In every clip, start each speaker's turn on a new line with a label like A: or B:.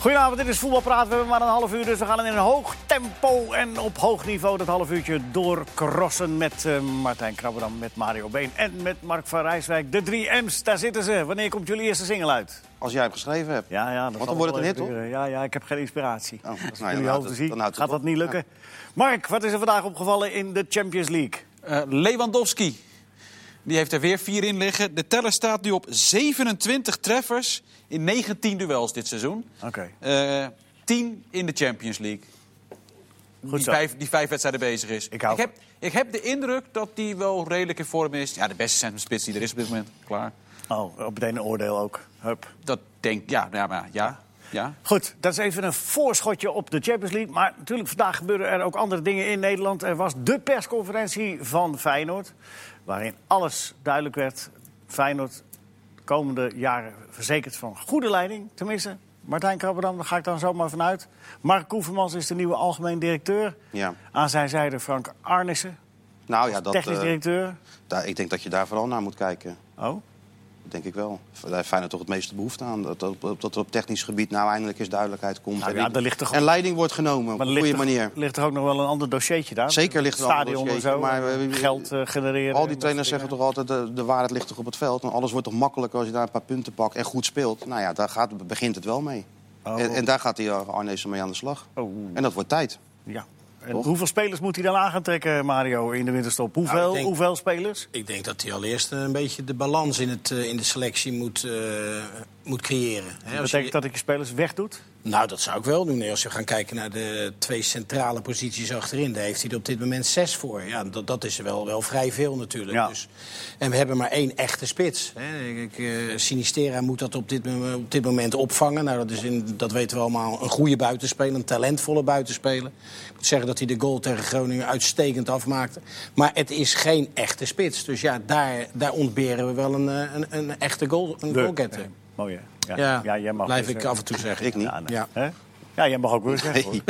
A: Goedenavond, dit is Voetbalpraat. We hebben maar een half uur, dus we gaan in een hoog tempo en op hoog niveau... dat half uurtje doorkrossen met eh, Martijn Krabberdam, met Mario Been... en met Mark van Rijswijk. De drie M's, daar zitten ze. Wanneer komt jullie eerste single uit?
B: Als jij hem geschreven hebt.
A: Ja, ja, dat
B: Want
A: zal
B: dan wordt het
A: wel
B: een hit,
A: even duren. Ja, ja, ik heb geen inspiratie.
B: Oh, nou ja,
A: Als
B: dan
A: jullie
B: houdt
A: hopen
B: het-
A: zien,
B: dan houdt het
A: gaat dat
B: op.
A: niet lukken. Mark, wat is er vandaag opgevallen in de Champions League?
C: Eh, Lewandowski. Die heeft er weer vier in liggen. De teller staat nu op 27 treffers in 19 duels dit seizoen.
A: Oké,
C: Eh 10 in de Champions League.
A: goed
C: Die
A: zo.
C: vijf, die vijf wedstrijden bezig is.
A: Ik hou
C: heb, ik heb de indruk dat hij wel redelijk in vorm is. Ja, de beste centrumspits die er is op dit moment. Klaar.
A: Oh, op meteen een oordeel ook. Hup.
C: Dat denk ja, nou ja, maar ja, ja.
A: Goed, dat is even een voorschotje op de Champions League. Maar natuurlijk, vandaag gebeuren er ook andere dingen in Nederland. Er was de persconferentie van Feyenoord, waarin alles duidelijk werd. Feyenoord, de komende jaren verzekerd van goede leiding, tenminste. Martijn Krabberdam, daar ga ik dan zomaar vanuit. Mark Koevermans is de nieuwe algemeen directeur.
B: Ja.
A: Aan zijn zijde Frank Arnissen,
B: Nou ja, dat,
A: technisch
B: eh,
A: directeur.
B: daar, ik denk dat je daar vooral naar moet kijken.
A: Oh,
B: Dat denk ik wel. Daar heeft Feyenoord toch het meeste behoefte aan. Dat, dat, dat er op technisch gebied nou eindelijk eens duidelijkheid komt.
A: Nou
B: en,
A: ja,
B: ik-
A: daar ligt toch-
B: en leiding wordt genomen op
A: maar
B: een
A: er
B: goede
A: ligt,
B: manier.
A: er, ligt er ook nog wel een ander dossiertje daar.
B: Zeker ligt er een ander
A: Stadion en zo,
B: dossiertje, maar we- we-
A: geld eh, genereren.
B: Al
A: en
B: die
A: dat
B: trainers
A: soort
B: zeggen
A: dingen.
B: toch altijd, de, de waarheid ligt toch op het veld. En alles wordt toch makkelijker als je daar een paar punten pakt en goed speelt. Nou ja, daar gaat, begint het wel mee.
A: Oh.
B: En, en daar gaat die eh, Arnezen mee aan de slag.
A: Oh.
B: En dat wordt tijd.
A: Ja. En
B: Toch?
A: hoeveel spelers moet hij dan aan gaan trekken, Mario, in de winterstop? Hoeveel,
D: Nou, ik denk-
A: hoeveel spelers?
D: Ik denk dat hij allereerst een beetje de balans in, het, eh, in de selectie moet, eh, moet creëren.
A: Dat
D: Hè, als
A: betekent
D: je-
A: dat ik je spelers wegdoet?
D: Nou, dat zou ik wel doen. Als je gaan kijken naar de twee centrale posities achterin, daar heeft hij er op dit moment zes voor. Ja, dat, dat is er wel, wel vrij veel natuurlijk.
A: Ja.
D: Dus, en we hebben maar één echte spits. Hè. Ik, ik, eh, Sinistera moet dat op dit, mom- op dit moment opvangen. Nou, dat, is in, dat weten we allemaal. Een goede buitenspeler, een talentvolle buitenspeler. Ik moet zeggen dat hij de goal tegen Groningen uitstekend afmaakte. Maar het is geen echte spits. Dus ja, daar, daar ontberen we wel een, eh, een, een echte goal, een goalgetter.
A: Mooi, hè? Ja,
D: Ja,
A: ja, jij mag dus, eh,
D: blijf
A: weer
D: ik
A: zeggen.
D: af en toe zeggen.
B: Ik niet.
A: Ja, nee.
D: Ja.
A: Hè? ja, jij mag ook weer zeggen. hoor. Dus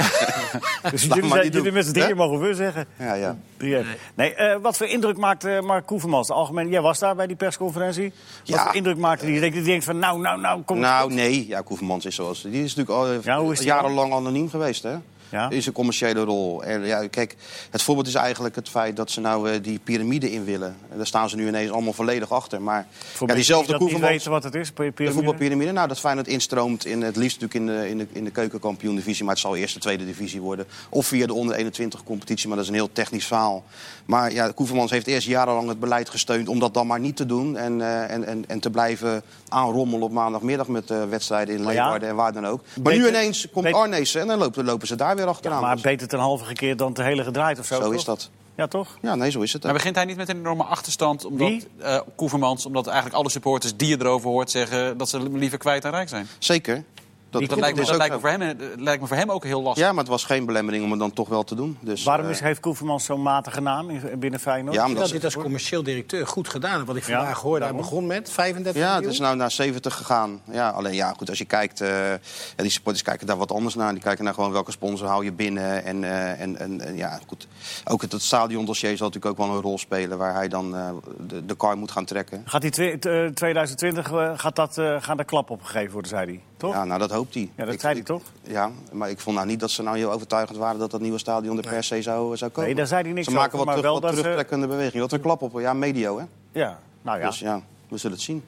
B: maar
A: jullie,
B: niet
A: zijn,
B: doen.
A: jullie met z'n
B: Hè?
A: drieën mogen weer zeggen.
B: Ja, ja.
A: Drieën. Nee, eh, wat voor indruk maakte eh, Mark Koevermans? De algemeen, jij was daar bij die persconferentie. Wat
B: Ja.
A: voor indruk maakte die? Die denkt van, nou, nou, nou, kom.
B: Nou, nee. Ja, Koevermans is zoals... Die is natuurlijk al eh,
A: Ja, hoe is die
B: jarenlang anoniem geweest, hè?
A: Ja.
B: Is een commerciële rol. En ja, kijk, het voorbeeld is eigenlijk het feit dat ze nou eh, die piramide in willen. En daar staan ze nu ineens allemaal volledig achter. Maar
A: Voor
B: ja,
A: mensen die
B: diezelfde
A: dat niet
B: Koevermans...
A: weten wat het is,
B: De
A: piramide.
B: voetbalpyramide, nou dat Feyenoord instroomt in het liefst natuurlijk in de, in de, in de keukenkampioen-divisie... maar het zal eerst de tweede divisie worden. Of via de onder-21-competitie, maar dat is een heel technisch verhaal. Maar ja, Koevermans heeft eerst jarenlang het beleid gesteund om dat dan maar niet te doen... en, eh, en, en, en te blijven aanrommelen op maandagmiddag met eh, wedstrijden in
A: ja,
B: Leeuwarden en waar dan ook. Maar
A: beter-
B: nu ineens komt
A: beter-
B: Arnezen en dan lopen, lopen ze daar weer achteraan.
A: Maar
B: Dus-
A: beter ten halve gekeerd dan te hele gedraaid of zo.
B: Zo
A: toch?
B: is dat.
A: Ja, toch?
B: ja, nee, zo is het. hè.
C: Maar Nou begint hij niet met een enorme achterstand omdat
A: Wie?
C: eh Koevermans, omdat eigenlijk alle supporters die je erover hoort zeggen dat ze li- liever kwijt en rijk zijn.
B: Zeker.
C: Dat,
B: is
C: lijkt me, dat
B: dus ook
A: dus
C: lijkt, me
B: zo.
C: voor hem, eh, lijkt me voor hem ook heel lastig.
B: Ja, maar het was geen belemmering om het dan toch wel te doen. Dus,
A: Waarom
B: eh,
A: is, heeft Koevermans zo'n matige naam in- binnen Feyenoord?
B: Ja,
D: Ik
B: omdat
D: vind
B: ze-
D: dat dit als commercieel directeur goed gedaan. heeft. Wat ik
A: Ja,
D: vandaag hoorde, hij
A: daarom.
D: begon met 35
B: Ja, het
D: miljoen.
B: is nou naar 70 gegaan. Ja, alleen ja, goed, als je kijkt, eh, ja, die supporters kijken daar wat anders naar. Die kijken naar gewoon welke sponsor hou je binnen. En, eh, en, en, en ja, goed. Ook het, het stadiondossier zal natuurlijk ook wel een rol spelen... waar hij dan eh, de, de kar moet gaan trekken.
A: Gaat die twe- t- eh, 2020 eh, gaat dat, eh, gaan daar klap op gegeven worden, zei hij. Toch?
B: Ja, nou, dat hoopt hij.
A: Ja, dat
B: Ik-
A: zei hij
B: ik-
A: toch?
B: Ja, maar ik vond nou niet dat ze nou heel overtuigend waren... dat dat nieuwe stadion er per se zou, zou komen.
A: Nee, daar zei hij niks
B: Ze maken
A: over,
B: wat,
A: maar
B: terug-
A: wel
B: wat
A: dat ze-
B: terugtrekkende beweging. Wat een klap op, ja, medio, hè?
A: Ja, nou ja.
B: Dus ja, we zullen het zien.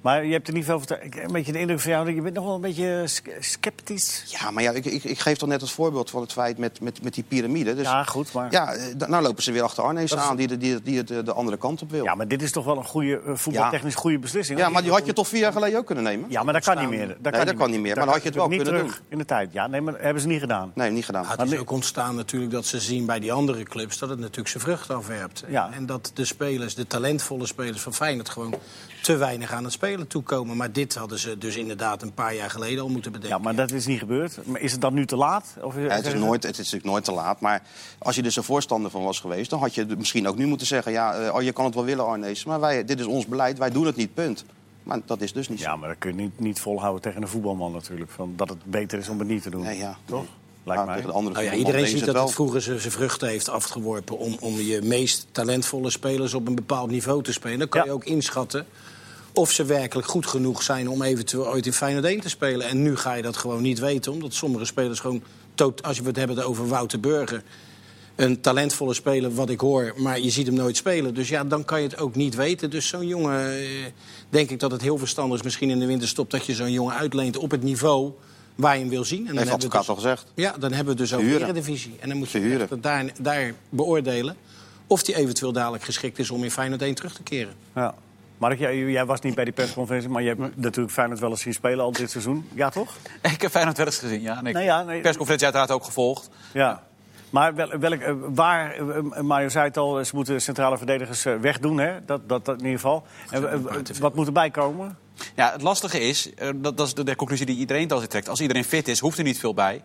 A: Maar je hebt er niet veel vertrouwen. Ik heb een beetje de indruk van jou dat je bent nog wel een beetje sk- sceptisch.
B: Ja, maar ja, ik, ik, ik geef toch net het voorbeeld van het feit met, met, met die piramide. Dus
A: Ja, goed, maar...
B: Ja, eh, da- nou lopen ze weer achter Arnees aan, die, de- die, die het eh, de andere kant op wil.
A: Ja,
B: Ja,
A: maar dit is toch wel een goede, eh, voetbaltechnisch goede beslissing.
B: maar die had je toch vier jaar geleden ook kunnen nemen?
A: ja, maar dat kan niet meer. Dat kan,
B: dat kan niet meer, maar dan had je het wel
A: niet
B: kunnen
A: terug in de tijd. Ja, nee, maar dat hebben ze niet gedaan.
B: Nee, niet gedaan.
D: Nou, het is ook ontstaan natuurlijk dat ze zien bij die andere clubs... dat het natuurlijk zijn vrucht afwerpt.
A: Ja.
D: En dat de spelers, de talentvolle spelers van Feyenoord... gewoon te weinig aan het spelen toekomen. Maar dit hadden ze dus inderdaad een paar jaar geleden al moeten bedenken.
A: Ja, maar dat is niet gebeurd. Maar is het dan nu te laat? Of
B: Ja, het, is nooit, het is natuurlijk nooit te laat, maar als je dus een voorstander van was geweest... dan had je d- misschien ook nu moeten zeggen, ja, eh, oh, je kan het wel willen Arnees... maar wij, dit is ons beleid, wij doen het niet, punt. Maar dat is dus niet zo.
A: Ja, maar dat kun je niet, niet volhouden tegen een voetbalman natuurlijk. Van dat het beter is om het niet te doen.
B: Nee, ja.
A: Toch?
B: Nee.
A: Lijkt
B: Maar
A: mij.
B: tegen de andere
D: Nou ja,
B: voetbalman
D: iedereen
B: deden
D: ziet
B: ze
D: dat
B: wel.
D: het vroeger ze- zijn vruchten heeft afgeworpen... Om, om je meest talentvolle spelers op een bepaald niveau te spelen. Dan kan
A: Ja.
D: je ook inschatten of ze werkelijk goed genoeg zijn om eventueel ooit in Feyenoord 1 te spelen. En nu ga je dat gewoon niet weten, omdat sommige spelers gewoon... tot- Als we het hebben over Wouter Burger, een talentvolle speler, wat ik hoor, maar je ziet hem nooit spelen. Dus ja, dan kan je het ook niet weten. Dus zo'n jongen, eh, denk ik dat het heel verstandig is, misschien in de winterstop, dat je zo'n jongen uitleent op het niveau waar je hem wil zien. En dan
B: Heeft
D: hebben we
B: advocaat
D: dus-
B: al gezegd.
D: Ja, dan hebben we dus over de
B: Verhuren.
D: Eredivisie. En dan moet je
B: Verhuren.
D: echt daar, daar beoordelen of die eventueel dadelijk geschikt is om in Feyenoord 1 terug te keren.
A: Ja. Mark, jij, jij was niet bij die persconferentie, maar je hebt natuurlijk Feyenoord wel eens zien spelen al dit seizoen. Ja, toch?
C: Ik heb Feyenoord wel eens gezien, ja. En
A: Nee,
C: ik-
A: Nou ja, nee.
C: Persconferentie uiteraard ook gevolgd.
A: Ja. Maar wel, welk, eh, waar, eh, eh, Mario zei het al, ze moeten centrale verdedigers eh, wegdoen, hè? Dat, dat, dat in ieder geval. En, eh, wat moet erbij komen?
C: Ja, het lastige is, eh, dat, dat is de, de conclusie die iedereen altijd trekt. Als iedereen fit is, hoeft er niet veel bij.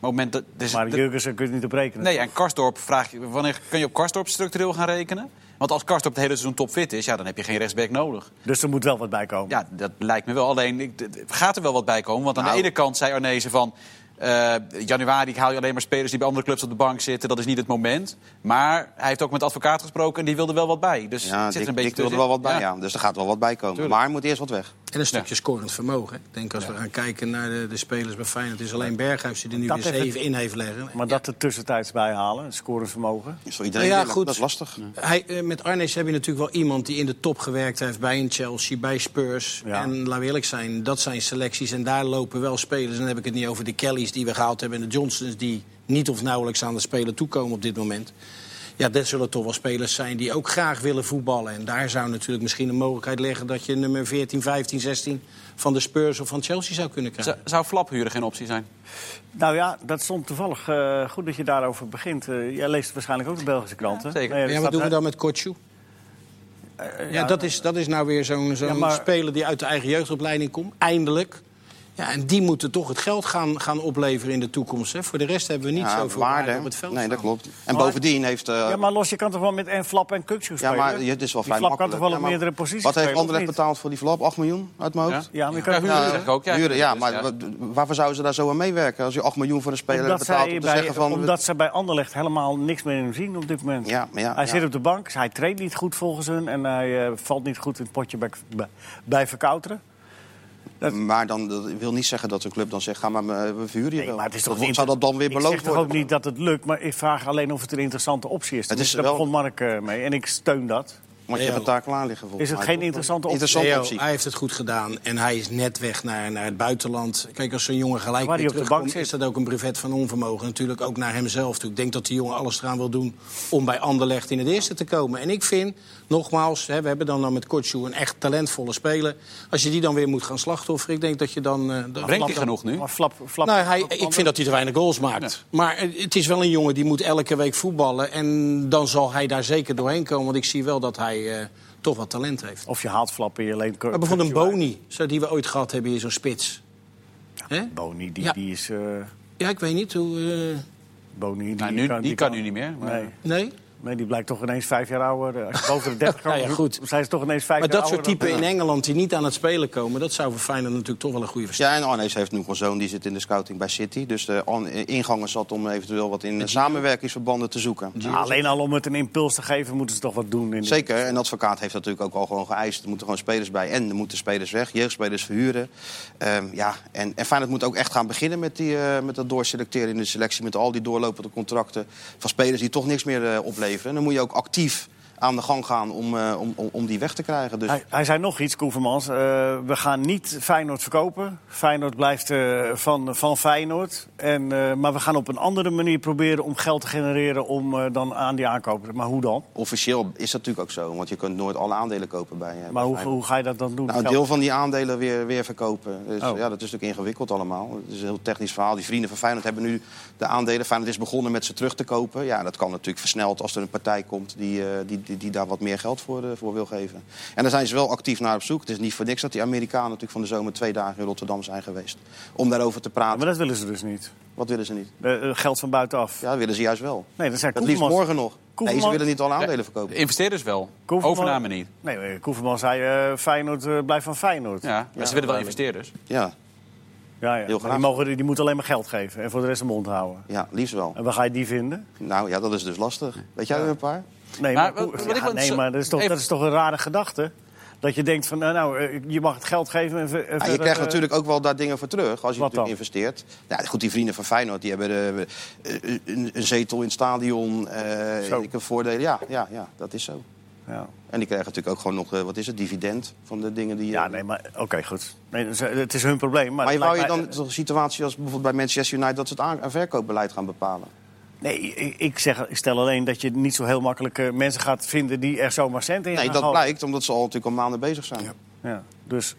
C: Maar op het moment dat... dus
A: Maar
C: de-
A: Jurgensen kun je niet op rekenen.
C: nee, en Karsdorp vraag je... Wanneer kun je op Karsdorp structureel gaan rekenen? Want als Karsdorp het hele seizoen topfit is, ja, dan heb je geen rechtsback nodig.
A: Dus er moet wel wat bij komen.
C: Ja, dat lijkt me wel. Alleen ik- d- d- gaat er wel wat bij komen. Want aan
B: Nou.
C: de ene kant zei Arnezen van... eh, januari haal je alleen maar spelers die bij andere clubs op de bank zitten. Dat is niet het moment. Maar hij heeft ook met advocaat gesproken en die wilde wel wat bij. Dus
B: Ja,
C: het zit er
B: Dick,
C: een beetje
B: Dick wilde er wel
C: tussenin.
B: wat bij,
C: Ja.
B: ja. Dus er gaat wel wat bij komen. Maar er moet eerst wat weg.
D: En een stukje scorend vermogen. hè. Ik denk als we gaan kijken naar de, de spelers bij Feyenoord... is alleen Berghuis die er nu
A: Dat
D: weer
A: heeft het-
D: zeven in heeft leggen.
A: Maar dat er tussentijds bij halen, scorenvermogen.
B: Dat zal iedereen
D: Nou ja,
B: willen.
D: goed.
B: Dat is lastig.
D: Hij, eh, met Arnees heb je natuurlijk wel iemand die in de top gewerkt heeft bij een Chelsea, bij Spurs.
A: Ja.
D: En laat we eerlijk zijn, dat zijn selecties en daar lopen wel spelers. En dan heb ik het niet over de Kellys die we gehaald hebben en de Johnsons die niet of nauwelijks aan de spelen toekomen op dit moment. Ja, dat zullen toch wel spelers zijn die ook graag willen voetballen. En daar zou natuurlijk misschien een mogelijkheid liggen dat je nummer 14, 15, 16 van de Spurs of van Chelsea zou kunnen krijgen.
C: Z- Zou flap huren geen optie zijn?
A: Nou ja, dat stond toevallig eh, goed dat je daarover begint. Eh, jij leest waarschijnlijk ook de Belgische krant, hè?
C: zeker.
A: Nee, er
D: Ja, wat
A: staat-
D: doen we dan met Kotsjoe? Eh, ja, dat is, dat is nou weer zo'n zo'n
A: Ja, maar-
D: speler die uit de eigen jeugdopleiding komt. Eindelijk. Ja, en die moeten toch het geld gaan, gaan opleveren in de toekomst. Hè. Voor de rest hebben we niet
B: Ja,
D: zoveel
B: waarde.
D: waarde op het veld.
B: Nee, dat
D: staan.
B: klopt. En bovendien heeft... eh,
A: Ja, maar los, je kan toch wel met en Flap en Kuksu
B: Ja,
A: spelen?
B: maar het is wel
A: Die
B: vrij
A: Flap kan
B: makkelijk.
A: toch wel
B: Ja,
A: op
B: maar
A: meerdere posities
B: Wat heeft
A: spelen, of
B: Anderlecht
A: niet?
B: betaald voor die verloop? 8 miljoen uit mijn
C: Ja?
B: hoofd?
A: Ja, maar je
C: Ja,
A: kan
C: huren zeg ik ook. Ja,
B: Huren, ja,
C: Dus,
B: maar wat- waarvoor zouden ze daar zo aan meewerken? Als je 8 miljoen voor een speler
A: omdat
B: betaalt om
A: zij,
B: te
A: bij,
B: zeggen van...
A: omdat zij bij Anderlecht helemaal niks meer in hem zien op dit moment.
B: Ja, maar ja,
A: hij
B: ja.
A: zit op de bank, dus hij treedt niet goed volgens hun... en hij eh, valt niet goed in het potje bij, bij, bij verkouteren.
B: Maar dan dat wil niet zeggen dat een club dan zegt, ga maar, eh, we verhuren je
A: Nee,
B: wel.
A: maar het is toch
B: dat,
A: niet-
B: zou dat dan weer
A: ik
B: beloond
A: zeg
B: worden?
A: toch ook niet dat het lukt, maar ik vraag alleen of het een interessante optie is. Tenminste,
B: is
A: Daar
B: wel-
A: begon Mark eh, mee en ik steun dat.
B: Want je
D: Nee,
B: hebt het
D: joh.
B: daar klaar liggen volgens
A: Is het
B: mij,
A: geen
B: toch?
A: interessante optie?
B: Interessante
D: Theo,
B: optie.
D: hij heeft het goed gedaan en hij is net weg naar, naar het buitenland. Kijk, als zo'n jongen gelijk
A: Waar hij
D: weer
A: op de
D: terugkomt,
A: bank zit.
D: is dat ook een brevet van onvermogen. Natuurlijk ook naar hemzelf toe. Ik denk dat die jongen alles eraan wil doen om bij Anderlecht in het eerste te komen. En ik vind, nogmaals, hè, we hebben dan, dan met Kortsjoe een echt talentvolle speler. Als je die dan weer moet gaan slachtofferen, ik denk dat je dan... eh, dat-
C: Brengt hij genoeg nu?
A: Maar Flap, Flap,
D: nou, hij,
A: Flap-
D: ik vind dat hij te weinig goals maakt. Maar eh, het is wel een jongen die moet elke week voetballen. En dan zal hij daar zeker doorheen komen. Want ik zie wel dat hij eh, toch wat talent heeft.
A: Of je haalt Flap en je leent Kuk-
D: Maar bijvoorbeeld een
A: Kukçu uit.
D: Boni, zo die we ooit gehad hebben, hier zo'n spits. Hè?
A: Boni, die,
D: Ja.
A: die is... eh,
D: Ja, ik weet niet hoe. eh,
A: Boni, die,
C: Nou, nu- die kan nu niet meer, maar-
A: Nee.
D: nee.
A: nee, die blijkt toch ineens vijf jaar ouder. eh, Als je boven de 30
D: Nou ja,
A: gaat,
D: goed.
A: zijn ze toch ineens vijf
D: Maar
A: jaar
D: dat soort
A: ouder dan-
D: typen in Engeland die niet aan het spelen komen, dat zou voor Feyenoord natuurlijk toch wel een goede versterking
B: Ja, en Arnees heeft nu een zoon, die zit in de scouting bij City. Dus de an- ingangen zat om eventueel wat in samenwerkingsverbanden te zoeken.
A: Nou, alleen al om het een impuls te geven, moeten ze toch wat doen. In die-
B: Zeker, en de advocaat heeft dat natuurlijk ook al gewoon geëist. Er moeten gewoon spelers bij en er moeten spelers weg. Jeugdspelers verhuren. Ehm, ja, en, en Feyenoord moet ook echt gaan beginnen met, die, eh, met dat doorselecteren in de selectie. Met al die doorlopende contracten van spelers die toch niks meer eh, opleveren. En dan moet je ook actief aan de gang gaan om, eh, om, om, om die weg te krijgen. Dus
A: Hij, hij zei nog iets, Koevermans. Eh, we gaan niet Feyenoord verkopen. Feyenoord blijft eh, van, van Feyenoord. En, eh, maar we gaan op een andere manier proberen om geld te genereren... om eh, dan aan die aankopen. Maar hoe dan?
B: officieel is dat natuurlijk ook zo. Want je kunt nooit alle aandelen kopen bij, eh, bij
A: Maar hoe,
B: Feyenoord.
A: hoe ga je dat dan doen?
B: Nou, een
A: Geld-
B: deel van die aandelen weer, weer verkopen. Dus,
A: Oh.
B: Ja, dat is natuurlijk ingewikkeld allemaal. Het is een heel technisch verhaal. Die vrienden van Feyenoord hebben nu de aandelen. Feyenoord is begonnen met ze terug te kopen. Ja, dat kan natuurlijk versneld als er een partij komt die, eh, die, die, die daar wat meer geld voor, eh, voor wil geven. En daar zijn ze wel actief naar op zoek. Het is niet voor niks dat die Amerikanen natuurlijk van de zomer twee dagen in Rotterdam zijn geweest. Om daarover te praten.
A: Maar dat willen ze dus niet.
B: Wat willen ze niet?
A: Eh, eh, geld van buitenaf.
B: Ja, dat willen ze juist wel.
A: Nee, dat zijn
B: Het liefst
A: Koevermans.
B: morgen nog. Nee, ze
A: Koevermans-
B: willen niet alle aandelen verkopen.
C: De investeerders wel.
A: Koevermans-
C: Overname niet.
A: Nee, eh, Koeverman zei eh, Feyenoord eh, blijft van Feyenoord.
C: Ja, maar ze willen wel investeerders.
B: Ja,
A: ja, ja. Maar
B: Heel
A: Die,
B: graag.
A: mogen, die moeten alleen maar geld geven en voor de rest de mond houden.
B: ja, liefst wel.
A: En waar ga je die vinden?
B: Nou ja, dat is dus lastig. Weet jij er een paar?
A: Nee,
C: Maar
A: maar,
C: wat- wat
A: ja,
C: ik wel-
A: nee, maar dat, is toch,
C: Even-
A: dat is toch een rare gedachte? Dat je denkt van, nou, nou, eh, je mag het geld geven. En, ver- en
B: Ja, je
A: verder,
B: krijgt
A: eh,
B: natuurlijk ook wel daar dingen voor terug als je
A: Wat
B: natuurlijk investeert. Nou, goed, die vrienden van Feyenoord die hebben eh, eh, een, een zetel in het stadion. eh
A: Zo.
B: ik heb voordelen. Ja, ja, ja, dat is zo.
A: Ja.
B: En die krijgen natuurlijk ook gewoon nog, eh, wat is het, dividend van de dingen die... je-
A: Ja, nee, maar oké, goed. Nee, dus, eh, het is hun probleem. Maar,
B: maar je
A: het
B: wou
A: lijkt
B: je
A: mij-
B: dan zo'n situatie als bijvoorbeeld bij Manchester United... dat ze het aan- en verkoopbeleid gaan bepalen?
A: Nee, ik, ik zeg, ik stel alleen dat je niet zo heel makkelijk eh, mensen gaat vinden die er zomaar cent in gaan
B: Nee, dat
A: gooien.
B: blijkt omdat ze al natuurlijk al maanden bezig zijn.
A: Ja, dus
C: Ik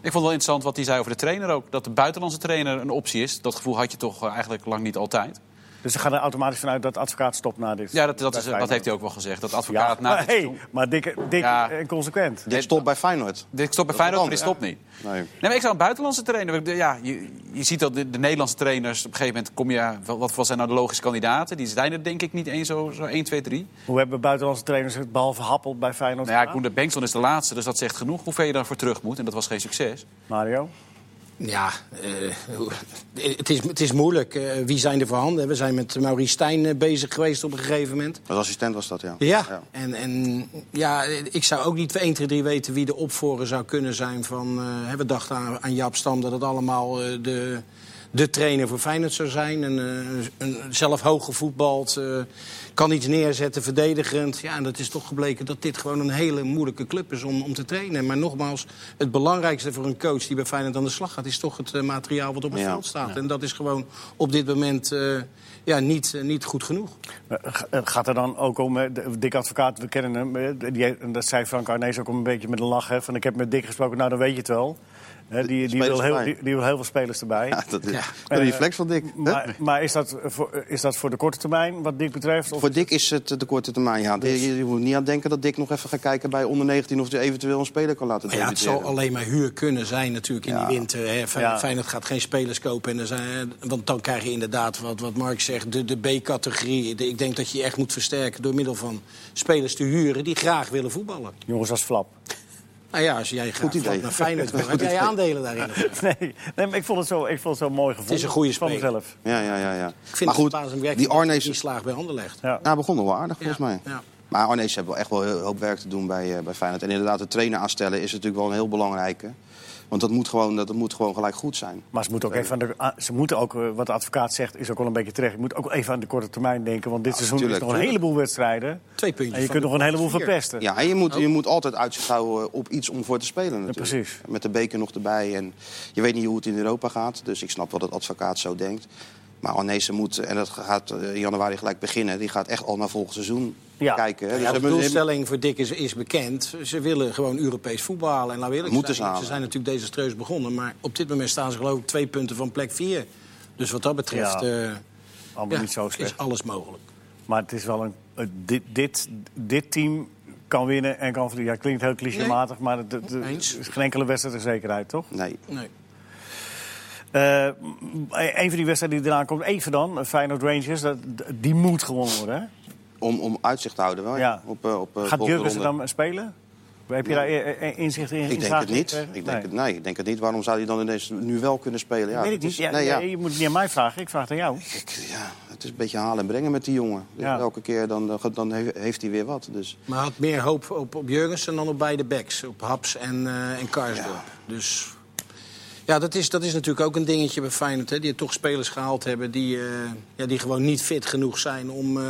C: vond het wel interessant wat hij zei over de trainer ook. Dat de buitenlandse trainer een optie is. Dat gevoel had je toch eh, eigenlijk lang niet altijd.
A: Dus ze gaan er automatisch vanuit dat de advocaat stopt na dit.
C: Ja, dat, dat, is,
A: bij
C: dat
A: Feyenoord.
C: heeft hij ook wel gezegd. Dat de advocaat na
A: maar,
C: dit
A: hey,
C: seizoen-
A: maar dik, dik
C: Ja.
A: en consequent.
B: Dit stopt bij Feyenoord.
C: Dit stopt bij
B: Dat is
C: Feyenoord, maar dit
B: wat
C: stopt niet.
B: Nee.
C: Nee, maar ik zou een buitenlandse trainer... Ja, je, je ziet dat de, de Nederlandse trainers... Op een gegeven moment kom je... Wat, wat zijn nou de logische kandidaten? Die zijn er denk ik niet één zo, zo 1, 2, 3.
A: Hoe hebben buitenlandse trainers het behalve Happel bij Feyenoord
C: Nou ja,
A: gedaan?
C: Koen de Bengtson is de laatste, dus dat zegt genoeg. Hoeveel je daarvoor terug moet. En dat was geen succes.
A: Mario?
D: Ja, eh, hoe- het, is, het is moeilijk. Eh, wie zijn er voorhanden? We zijn met Maurice Stijn eh, bezig geweest op een gegeven moment.
B: Als assistent was dat, ja.
D: Ja, En, en ja, ik zou ook niet 1, 2, 3 weten wie de opvoren zou kunnen zijn van... eh, hè, we dachten aan, aan Jaap Stam dat het allemaal eh, de, de trainer voor Feyenoord zou zijn. Een, eh, een zelf hoog gevoetbald, eh, kan iets neerzetten, verdedigend. Ja, en dat is toch gebleken dat dit gewoon een hele moeilijke club is om, om te trainen. Maar nogmaals, het belangrijkste voor een coach die bij Feyenoord aan de slag gaat... is toch het eh, materiaal wat op het
B: Ja.
D: veld staat. En dat is gewoon op dit moment eh, ja, niet, eh, niet goed genoeg.
A: Eh, g- eh, Gaat er dan ook om, eh, de- Dick Advocaat, we kennen hem, eh, die, heeft- en dat zei Frank Arnees ook een beetje met een lach, hè, van ik heb met Dick gesproken, nou dan weet je het wel. Hè, die, die,
B: spelers
A: wil heel,
B: erbij.
A: die, die wil heel veel spelers erbij.
B: Ja, dat is
A: Eh,
B: een reflex van Dick. hè?
A: Maar, maar is, dat eh, voor, eh, is dat voor de korte termijn, wat Dick betreft? Of
B: Voor Dick is het eh, de korte termijn, ja. Je, je moet niet aan denken dat Dick nog even gaat kijken bij onder 19... of hij eventueel een speler kan laten
D: Maar ja, het
B: debuteren.
D: zal alleen maar huur kunnen zijn natuurlijk in die winter. Hè. Fey-
A: Ja.
D: Feyenoord gaat geen spelers kopen. En er zijn, want dan krijg je inderdaad, wat, wat Mark zegt, de, de B-categorie. De- Ik denk dat je je echt moet versterken door middel van spelers te huren... die graag willen voetballen.
A: jongens als Flap?
D: Nou ja, als jij graag
B: idee.
D: vlak naar Feyenoord wil, heb jij aandelen daarin.
A: Nee, nee maar ik vond het zo, ik vond het zo mooi gevoel.
D: is een goede
A: van
D: speler.
A: mezelf.
B: Ja, ja, ja. ja.
D: Ik vind
B: maar goed,
D: het verbazingwekkend
B: die
D: dat hij
B: Arnees...
D: die slaag bij handen legt.
A: Ja.
B: Nou, begon nog wel aardig, volgens
D: Ja,
B: mij.
D: ja.
B: Maar Arnees heeft wel echt wel heel- hoop werk te doen bij, eh, bij Feyenoord. En inderdaad, de trainer aanstellen is natuurlijk wel een heel belangrijke. Want dat moet gewoon, dat moet gewoon gelijk goed zijn.
A: Maar ze moeten ook even aan de, a- ze moeten ook, eh, wat de advocaat zegt, is ook wel een beetje terecht. Je moet ook even aan de korte termijn denken, want dit seizoen
B: tuurlijk,
A: is nog een
B: tuurlijk.
A: heleboel wedstrijden.
D: Twee puntjes
A: En je
D: van
A: kunt
D: de
A: nog een heleboel
D: vier.
A: verpesten.
B: Ja, en je moet, je moet altijd uitzicht houden op iets om voor te spelen natuurlijk.
A: precies.
B: Met de beker nog erbij. En je weet niet hoe het in Europa gaat. Dus ik snap wel dat advocaat zo denkt. Maar Arnees moet, en dat gaat eh, in januari gelijk beginnen... die gaat echt al naar volgend seizoen
A: Ja.
B: kijken. hè. Dus
D: Ja, de
B: ze hebben-
D: doelstelling voor Dick is, is bekend. Ze willen gewoon Europees voetballen. En laat eerlijk
B: Moeten ze
D: zijn, ze
B: halen.
D: zijn natuurlijk desastreus begonnen. Maar op dit moment staan ze geloof ik twee punten van plek vier. Dus wat dat
A: Ja.
D: betreft eh,
A: Allemaal
D: ja,
A: niet zo slecht.
D: is alles mogelijk.
A: Maar het is wel een. eh, Dit, dit, dit team kan winnen en kan verliezen. Ja, klinkt heel clichématig, maar het, het- het
D: Eens.
A: is geen enkele wedstrijd er zekerheid, toch?
B: Nee,
D: Nee.
A: Eh, m- een van die wedstrijden die eraan komt, even dan, eh, Feyenoord Rangers, dat, d- die moet gewonnen worden. Hè?
B: om, om uitzicht te houden wel. Ja.
A: Ja.
B: Op, eh, op, eh,
A: Gaat
B: volgende
A: Jurgensen
B: ronde.
A: dan spelen? Heb je daar eh, eh, inzicht in?
B: Ik denk
A: inzage
B: het niet.
A: gekregen?
B: Ik denk
A: Nee.
B: het, nee, ik denk het niet. Waarom zou hij dan ineens nu wel kunnen spelen? Ja,
A: Weet ik
B: dat
A: niet.
B: is-
A: Ja,
B: nee, ja.
A: ja, Je moet het niet aan mij vragen, ik vraag het aan jou.
B: Ik- ja, het is een beetje halen en brengen met die jongen. Dus
A: Ja.
B: Elke keer dan, dan, dan he- heeft hij weer wat. Dus
D: Maar had meer hoop op, op Jurgensen dan op beide backs. Op Haps en, eh en Karsdorp. Dus ja, dat is, dat is natuurlijk ook een dingetje bij Feyenoord. Hè, die toch spelers gehaald hebben die, eh, ja, die gewoon niet fit genoeg zijn om... eh,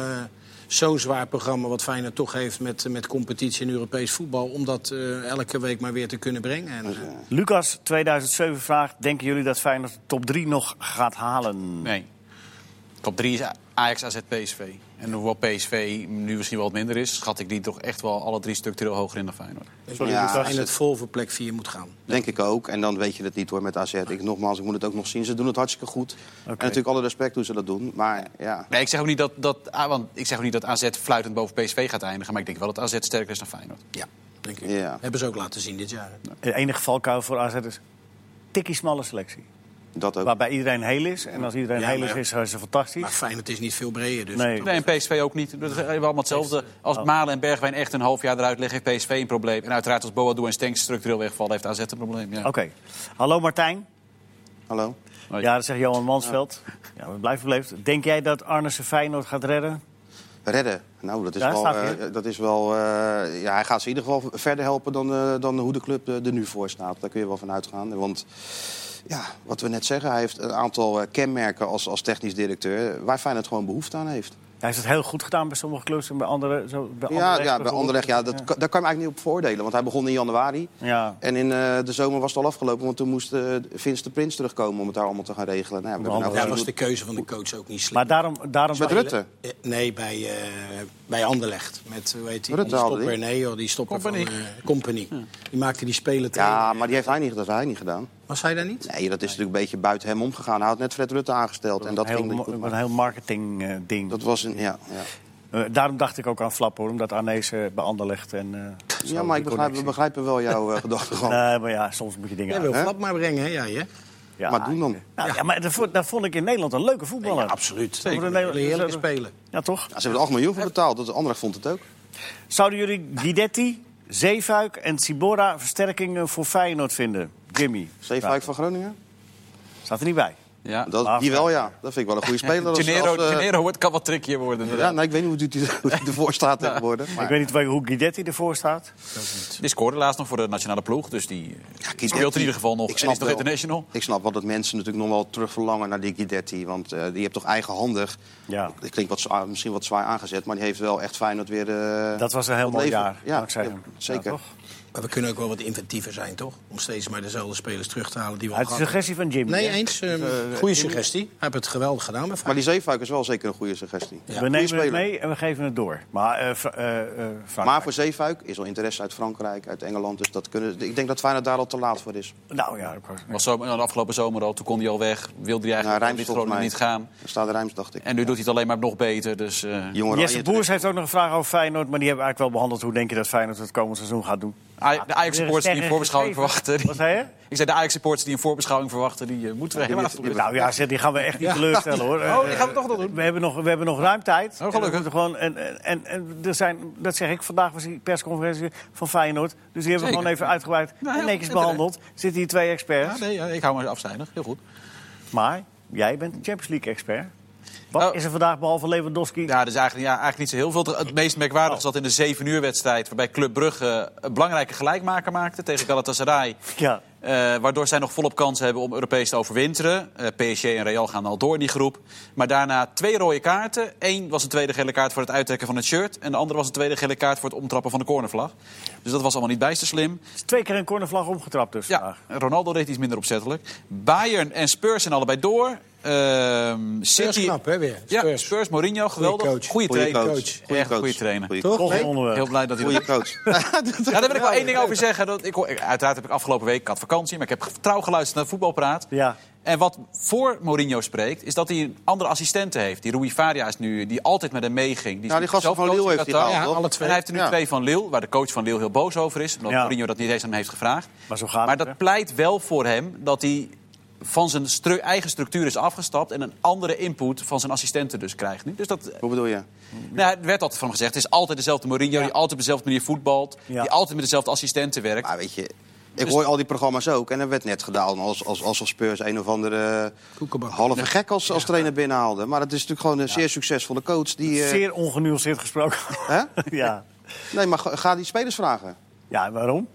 D: Zo'n zwaar programma wat Feyenoord toch heeft met, met competitie en Europees voetbal... om dat eh, elke week maar weer te kunnen brengen. En, eh,
A: Lucas 2007 vraagt: Denken jullie dat Feyenoord de top 3 nog gaat halen?
C: Nee. Top 3 is A- Ajax, AZ, PSV. En hoewel PSV nu misschien wel wat minder is... schat ik die toch echt wel alle drie structureel hoger in dan Feyenoord.
A: Sorry,
B: Ja,
A: Lucas.
D: en het vol voor plek 4 moet gaan.
B: denk ik ook. En dan weet je het niet hoor met AZ. Ik, nogmaals, ik moet het ook nog zien. Ze doen het hartstikke goed. En natuurlijk alle respect hoe ze dat doen. Maar ja,
C: Nee, ik zeg ook niet dat, dat, ah, want ik zeg ook niet dat AZ fluitend boven PSV gaat eindigen... maar ik denk wel dat AZ sterker is dan Feyenoord.
D: Ja, denk ik.
B: Ja.
D: Hebben ze ook laten zien dit jaar.
A: Het enige valkuil voor AZ is tikkie smalle selectie.
B: dat ook.
A: Waarbij iedereen heel is. En als iedereen
D: Ja,
A: heel
D: maar-
A: is, is is ze
D: Maar
A: fantastisch.
D: Feyenoord is niet veel breder. Dus
A: Nee.
C: Nee, en PSV ook niet. Dat is allemaal hetzelfde. Als Malen en Bergwijn echt een half jaar eruit liggen, heeft PSV een probleem. En uiteraard als Boadu en Stenks structureel wegvallen, heeft AZ een probleem. Ja.
A: Oké. Hallo Martijn.
B: Hallo?
C: Hoi.
A: Ja, dat zegt Johan Mansveld. Ja, we blijven beleefd. Denk jij dat Arnesse Feyenoord gaat redden?
B: redden. Nou, dat is
A: Daar
B: wel.
A: staat hij,
B: eh, dat is wel eh, ja, hij gaat ze in ieder geval verder helpen dan, eh, dan hoe de club eh, er nu voor staat. Daar kun je wel van uitgaan. Want ja, wat we net zeggen, hij heeft een aantal eh, kenmerken als, als technisch directeur. eh, Waar Feyenoord gewoon behoefte aan heeft.
A: Hij heeft het heel goed gedaan bij sommige clubs en bij andere. Zo, bij
B: Ja,
A: Anderlecht
B: ja, bij
A: bijvoorbeeld.
B: Anderlecht, ja, dat,
A: Ja.
B: kan- daar kan je hem eigenlijk niet op veroordelen. Want hij begon in januari.
A: Ja.
B: En in eh, de zomer was het al afgelopen, want toen moest eh Vince de Prins terugkomen om het daar allemaal te gaan regelen. Nou, ja, we hebben
A: andere-
B: nou
D: Daar
B: gezien
D: was
B: hoe-
D: de keuze van de coach ook niet slim.
A: Maar daarom, daarom
B: Met Rutte.
D: Eh, Nee, bij, eh, bij Anderlecht. Met, hoe heet die?
B: Rutte
D: die
B: haalde
D: stopper, nee joh, die stopper
C: Company.
D: van eh Company. Die maakte die spelen
B: Ja,
D: trainen.
B: maar die heeft hij niet, dat heeft hij niet gedaan.
D: Was hij daar niet?
B: Nee, dat is natuurlijk een beetje buiten hem omgegaan. Hij had net Fred Rutte aangesteld en dat
A: heel,
B: ging niet
A: mo-
B: goed.
A: een heel marketing eh, ding.
B: Dat was een, ja. ja.
A: Eh, daarom dacht ik ook aan Flap, hoor, omdat Arnees eh, bij Anderlecht en... eh, zo
B: Ja, maar
A: die
B: ik begrijp, we
A: connectie. Nou,
B: begrijpen wel jouw eh, gedachten gewoon.
A: Nee, maar ja, soms moet je dingen
D: Jij
A: uit-
D: wil
B: hè?
D: Flap maar brengen, hè? Ja, ja.
A: Ja,
B: maar doen dan.
A: Nou, ja. maar dat vond, dat vond ik in Nederland een leuke voetballer.
D: Ja, absoluut.
A: Zeker.
D: Een hele heerlijke speler.
A: Ja, toch?
B: Ja, ze hebben er 8 miljoen voor betaald, dat Anderlecht vond het ook.
A: Zouden jullie Guidetti, Zeefuik en Sibora versterkingen voor Feyenoord vinden? Jimmy. Nou,
B: Zeefuik van Groningen?
A: Staat er niet bij.
C: Ja.
B: Dat,
A: laatste.
B: die wel, ja. Dat vind ik wel een goede speler. als-
C: Gennaro,
B: als, eh,
C: Gennaro wordt, kan wat trickier worden.
B: ja, nou, ik weet niet hoe die- hoe die ervoor staat tegenwoordig.
A: Ik
B: Maar,
A: weet niet waar- hoe Guidetti ervoor staat.
C: Die scoorde laatst nog voor de nationale ploeg, dus die eh,
B: Guidetti-
C: speelt in ieder geval nog.
B: Ik
C: En
B: snap
C: is nog
B: wel.
C: international.
B: ik snap wel dat mensen natuurlijk nog wel terug verlangen naar die Guidetti. Want eh, die heeft toch eigenhandig...
A: Ja.
B: Dat klinkt wat, zwaar- misschien wat zwaar aangezet, maar die heeft wel echt Feyenoord weer... eh,
A: Dat was een heel
B: wat
A: mooi
B: leven.
A: jaar,
B: Ja,
A: dankzij
B: ja,
A: hem.
B: zeker.
A: Ja, toch?
D: Maar we kunnen ook wel wat inventiever zijn, toch? Om steeds maar dezelfde spelers terug te halen die we al
A: Uit de
D: hadden.
A: suggestie van Jimmy.
D: Nee,
A: hè?
D: eens. ehm, goede suggestie. Hij heeft het geweldig gedaan bij
B: eh, maar
D: Feyenoord.
B: die Zeefuik is wel zeker een goede suggestie.
A: we nemen het
B: speler.
A: mee en we geven het door. Maar, eh, Fra- eh, eh, Frank,
B: Maar voor Zeefuik is al interesse uit Frankrijk, uit Engeland. Dus dat kunnen, ik denk dat Feyenoord daar al te laat voor is.
A: Nou ja, ik was-
C: Was zo, de afgelopen zomer al, toen kon hij al weg. Wilde hij
B: Naar
C: eigenlijk
B: Rijms
C: dit
B: Nou, volgens mij.
C: Groningen niet gaan.
B: Daar staat Rijms, dacht ik.
C: En nu doet hij het alleen maar nog beter. Dus, eh,
B: Jongeren,
A: Jesse Boers heeft ook nog een vraag over Feyenoord. Maar die hebben we eigenlijk wel behandeld. Hoe denk je dat Feyenoord het komend seizoen gaat doen?
C: Aj- de Ajax
A: weer
C: supporters die
A: een
C: een voorbeschouwing
A: sterren
C: verwachten. die-
A: Wat zei je?
C: Ik zei de Ajax supporters die een voorbeschouwing verwachten, die eh, moeten we helemaal
B: die-
A: Nou ja, zeg, die gaan we echt niet teleurstellen hoor. Eh,
C: Oh, die gaan we toch nog doen. Oh,
A: We hebben nog, we hebben nog ruim tijd. En we
C: gelukkig.
A: moeten gewoon, en, en, en, en er zijn, dat zeg ik, vandaag was die persconferentie van Feyenoord. Dus die hebben we
C: Zeker.
A: gewoon even uitgebreid
C: Nou,
A: en
C: heel
A: netjes
C: goed.
A: behandeld. Zitten hier twee experts.
C: Ja, nee, ja, ik hou me afzijdig. Heel goed.
A: Maar jij bent een Champions League-expert. Wat
C: Oh.
A: is er vandaag behalve Lewandowski?
C: Ja, dus eigenlijk, ja, eigenlijk niet zo heel veel. Het meest merkwaardig zat in de 7 uur wedstrijd... waarbij Club Brugge een belangrijke gelijkmaker maakte tegen Galatasaray.
A: Ja.
C: Eh, waardoor zij nog volop kans hebben om Europees te overwinteren. Eh, PSG en Real gaan al door in die groep. Maar daarna twee rode kaarten. Eén was een tweede gele kaart voor het uittrekken van het shirt. En de andere was een tweede gele kaart voor het omtrappen van de cornervlag. Dus dat was allemaal niet bijster slim.
A: Twee keer een cornervlag omgetrapt dus
C: Ja,
A: vandaag.
C: Ronaldo deed iets minder opzettelijk. Bayern en Spurs zijn allebei door. Ehm
D: Spurs
C: City...
D: knap, hè, weer.
C: Ja,
D: Spurs.
C: Spurs, Mourinho, geweldig.
D: coach.
C: Goeie
B: Goeie
C: trainer.
B: coach.
C: Echt
B: Goeie coach.
C: goede trainer.
B: Goeie
D: Toch?
A: Toch
D: Nee?
A: een onderwerp.
C: Heel blij dat hij dat
B: Goeie coach.
C: ja, daar wil ik wel één ding over zeggen. Dat ik, hoor- uiteraard heb ik afgelopen week, ik had vakantie, maar ik heb trouw geluisterd naar voetbalpraat.
A: Ja.
C: En wat voor Mourinho spreekt, is dat hij een andere assistenten heeft. Die Rui Farias nu, die altijd met hem meeging.
B: Ja, die gasten
C: zelf
B: van
C: coach
B: Lille
C: in
B: heeft hij
C: Qatar.
B: gehaald,
D: Ja,
B: toch?
D: alle
C: En hij heeft er nu
B: Ja.
C: twee van Lille, waar de coach van Lille heel boos over is. Omdat
A: Ja.
C: Mourinho dat niet eens aan hem heeft gevraagd.
A: Maar zo gaat het, hè?
C: dat pleit wel voor hem dat hij van zijn stru- eigen structuur is afgestapt... en een andere input van zijn assistenten dus krijgt nu. Dus dat
B: Hoe bedoel je?
C: nou, er werd altijd van gezegd, het is altijd dezelfde Mourinho... die altijd op dezelfde manier voetbalt,
A: Ja.
C: die altijd met dezelfde assistenten werkt.
B: Maar weet je,
A: Dus-
B: ik hoor al die programma's ook. En er werd net gedaan als, als, alsof Spurs een of andere eh,
D: Koekenbak.
B: halve gek als, als trainer binnenhaalde. Maar het is natuurlijk gewoon een zeer succesvolle coach. Die, eh,
A: Zeer ongenuanceerd gesproken.
B: hè?
A: ja.
B: Nee, maar ga ga die spelers vragen.
A: ja, waarom?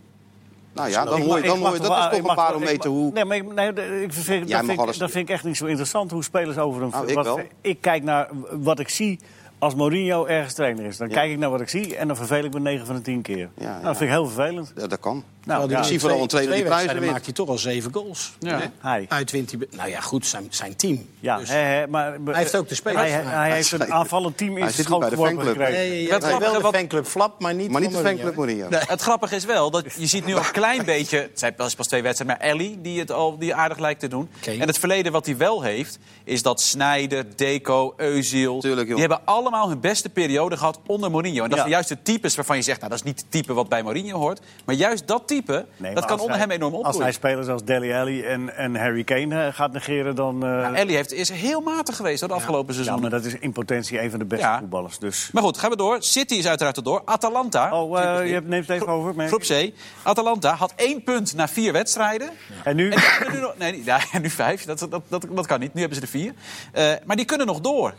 B: Nou ja, dan
A: Ik
B: hoor
A: mag-
B: je,
A: ik
B: dan
A: mag
B: hoor je,
A: toch
B: dat
A: wel-
B: is
A: ik
B: toch
A: mag
B: een
A: wel-
B: barometer
A: ik mag-
B: hoe...
A: Nee, maar ik, nee, de- ik vind, dat,
B: mag
A: vind,
B: alles-
A: ik- dat vind ik echt niet zo interessant hoe spelers over hem...
B: Nou, ik
A: wat-
B: wel.
A: ik kijk naar wat ik zie als Mourinho ergens trainer is. Dan kijk ik naar wat ik zie en dan vervel ik me 9 van de 10 keer. nou, dat
B: ja.
A: vind ik heel vervelend.
B: Ja, dat kan.
A: Nou,
D: Terwijl
A: ja,
D: die
B: zie vooral een trainer die
D: twee
B: prijzen
D: wedstrijden
B: wint.
D: maakt hij toch al zeven goals.
C: Ja.
A: Hij.
D: Uitwint hij... Nou ja, goed, zijn, zijn team.
A: Ja,
D: Dus-
A: hè, hè, maar, hij
D: heeft ook de spelers
A: Hij,
D: gemaakt.
A: hij heeft een aanvallend team in
B: Hij
A: zijn
B: zit niet
A: schoot
B: bij de
A: geworpen
B: fanclub.
A: gekregen.
D: Nee,
C: Wat
D: ja, wel
C: grappig,
D: de
C: wat-
D: fanclub Flap, maar niet
B: Maar niet de
D: van
B: fanclub Mourinho.
C: Het grappige is wel, dat je ziet nu al een klein beetje... Het zijn pas, pas twee wedstrijden, maar Ellie die het al die aardig lijkt te doen.
D: Oké.
C: En het verleden wat hij wel heeft, is dat Snijder, Deco, Euziel...
B: Tuurlijk, joh.
C: die hebben allemaal hun beste periode gehad onder Mourinho. En
A: Ja.
C: dat zijn juist de types waarvan je zegt... nou, dat is niet het type wat bij Mourinho hoort. Maar juist dat type,
A: Nee,
C: dat
A: maar
C: kan
A: als
C: onder
A: hij-
C: hem enorm
A: Als hij
C: opgroeien.
A: spelers als Deli Alli en, en Harry Kane eh, gaat negeren, dan... eh,
C: Nou, Ellie heeft, is heel matig geweest hoor, de afgelopen
A: ja,
C: seizoenen.
A: maar dat is in potentie een van de beste
C: Ja.
A: voetballers. Dus.
C: Maar goed, gaan we door. City is uiteraard er door. Atalanta.
A: Oh, eh,
C: Champions
A: je
C: League.
A: hebt- neemt het even
C: Gro-
A: over, merk
C: Groep C. Atalanta had één punt na vier wedstrijden.
A: En nu?
C: En die kunnen nu nog, nee, niet- ja, nu vijf. Dat, dat, dat, dat kan niet. Nu hebben ze er vier. Eh, maar die kunnen nog door.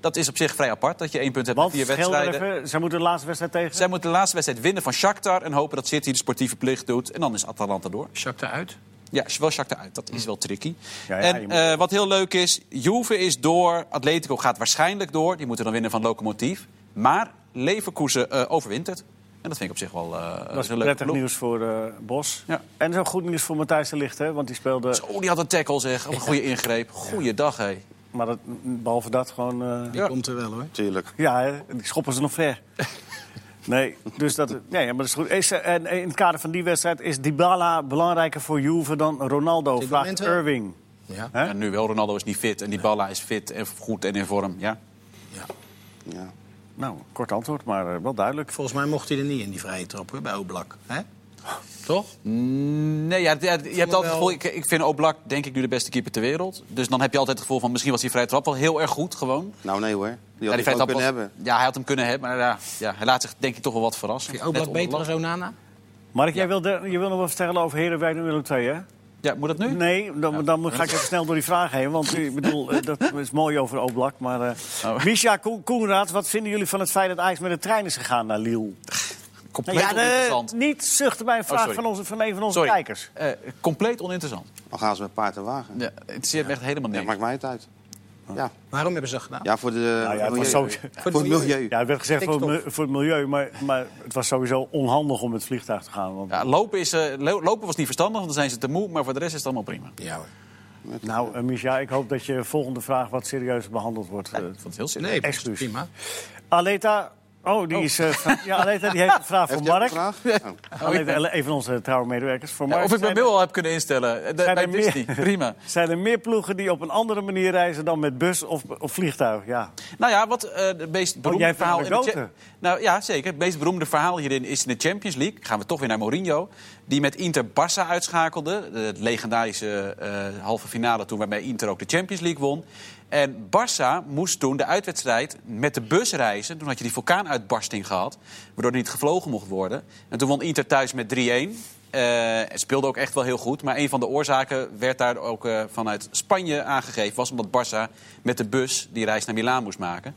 C: Dat is op zich vrij apart, dat je één punt hebt
A: Want,
C: met vier
A: schilder
C: wedstrijden.
A: even, zij moeten de laatste wedstrijd tegen.
C: Zij moeten de laatste wedstrijd winnen van Shakhtar... en hopen dat City de sportieve plicht doet. En dan is Atalanta door.
E: Shakhtar uit. Hm.
C: Ja, wel Shakhtar uit. Dat is wel tricky.
A: Ja, ja,
C: en
A: je moet-
C: eh, wat heel leuk is, Juve is door. Atletico gaat waarschijnlijk door. Die moeten dan winnen van Lokomotief. Maar Leverkusen eh, overwint het. En dat vind ik op zich wel eh
A: dat is
C: een leuke
A: prettig
C: ploeg.
A: nieuws voor eh, Bos.
C: Ja.
A: En zo goed nieuws voor Matthijs de Ligt, hè? Want die speelde.
C: Zo, Oh, die had een tackle zeg. Of een goede ingreep. Goeiedag, hé.
A: Maar dat, behalve dat gewoon. eh,
D: Die
C: Ja.
D: komt er wel hoor.
B: Tuurlijk.
A: Ja, hè, die schoppen ze nog ver. Nee, dus dat, nee, ja, maar dat is goed. Is, eh, en in het kader van die wedstrijd is Dybala belangrijker voor Juve dan Ronaldo?
D: dit moment
A: Vraagt
D: wel.
A: Irving.
D: Ja.
A: Hè?
C: Ja, nu wel, Ronaldo is niet fit. En die Balla is fit en goed en in vorm. Ja.
B: Ja.
A: Nou, kort antwoord, maar eh, wel duidelijk.
D: Volgens mij mocht hij er niet in die vrije trap hoor, bij Oblak. Hè? Toch?
C: Nee, ja, ja, je hebt altijd het
D: wel-
C: gevoel... Ik, ik vind Oblak, denk ik, nu de beste keeper ter wereld. Dus dan heb je altijd het gevoel van... misschien was die vrije trap wel heel erg goed, gewoon.
B: Nou, nee hoor. Die had
C: die
B: ik
C: vrije
B: ook
C: trap
B: kunnen
C: was-
B: hebben.
C: Ja, hij had hem kunnen hebben, maar ja, ja, hij laat zich denk ik toch wel wat verrassen.
D: Vind je
C: Net
D: Oblak
C: onder
D: beter
C: lat.
D: dan Onana?
A: Mark, jij wilde, je wil nog wat vertellen over Herenwijk en Willem II, hè?
C: Ja, moet dat nu?
A: Nee, dan, dan moet- ga ik even snel door die vraag heen. Want ik bedoel, eh, dat is mooi over Oblak. Maar eh
C: Oh.
A: Misha Ko- Koenraad, wat vinden jullie van het feit dat Ajax met de trein is gegaan naar Lille? Nou
C: Compleet
A: Ja, de,
C: oninteressant.
A: niet zuchten bij een vraag
C: Oh, sorry.
A: van, onze, van een van onze
C: Sorry.
A: kijkers.
C: Eh, compleet oninteressant.
B: Al gaan ze met paard en wagen.
C: Ja, het zit me echt helemaal
B: Ja,
C: niks.
B: maakt mij het uit. Ja,
D: Waarom hebben ze dat gedaan?
B: ja voor de
A: Nou ja, het
B: milieu.
A: was
B: voor,
A: sowieso-
B: het milieu.
A: Ja, het werd gezegd voor, het
D: Stikstof.
A: mi- voor het milieu, maar, maar het was sowieso onhandig om met het vliegtuig te gaan. Want,
C: Ja, lopen, is, eh, lo- lopen was niet verstandig, want dan zijn ze te moe. Maar voor de rest is het allemaal prima.
D: Ja, hoor.
A: Nou, eh, Misha, ik hoop dat je volgende vraag wat serieuzer behandeld wordt. Eh,
C: Ik vond het heel serieus.
D: Nee,
A: Excuus.
D: prima.
A: Aleta, oh, die is... eh, vra- ja, Aleta, die heeft een vraag voor
B: Heeft hij ook
A: Mark.
B: een vraag? Nou,
A: Aleta, ele- een van onze trouwe medewerkers. Voor
C: Ja,
A: Mark.
C: of ik
A: Zijn
C: mijn
A: er-
C: mail al heb kunnen instellen. Eh,
A: zijn
C: Bij
A: er meer-
C: Disney, prima.
A: Zijn er meer ploegen die op een andere manier reizen dan met bus of, of vliegtuig? Ja.
C: Nou ja, wat eh de meest beroemde
A: Oh, jij vindt
C: verhaal...
A: het
C: in de
A: anekdote?
C: cha- nou ja, zeker. Het meest beroemde verhaal hierin is in de Champions League. Gaan we toch weer naar Mourinho. Die met Inter Barça uitschakelde. De het legendarische eh, halve finale toen waarmee Inter ook de Champions League won. En Barça moest toen de uitwedstrijd met de bus reizen. Toen had je die vulkaanuitbarsting gehad. Waardoor er niet gevlogen mocht worden. En toen won Inter thuis met 3-1. Eh, het speelde ook echt wel heel goed. Maar een van de oorzaken werd daar ook eh, vanuit Spanje aangegeven. Was omdat Barça met de bus die reis naar Milaan moest maken.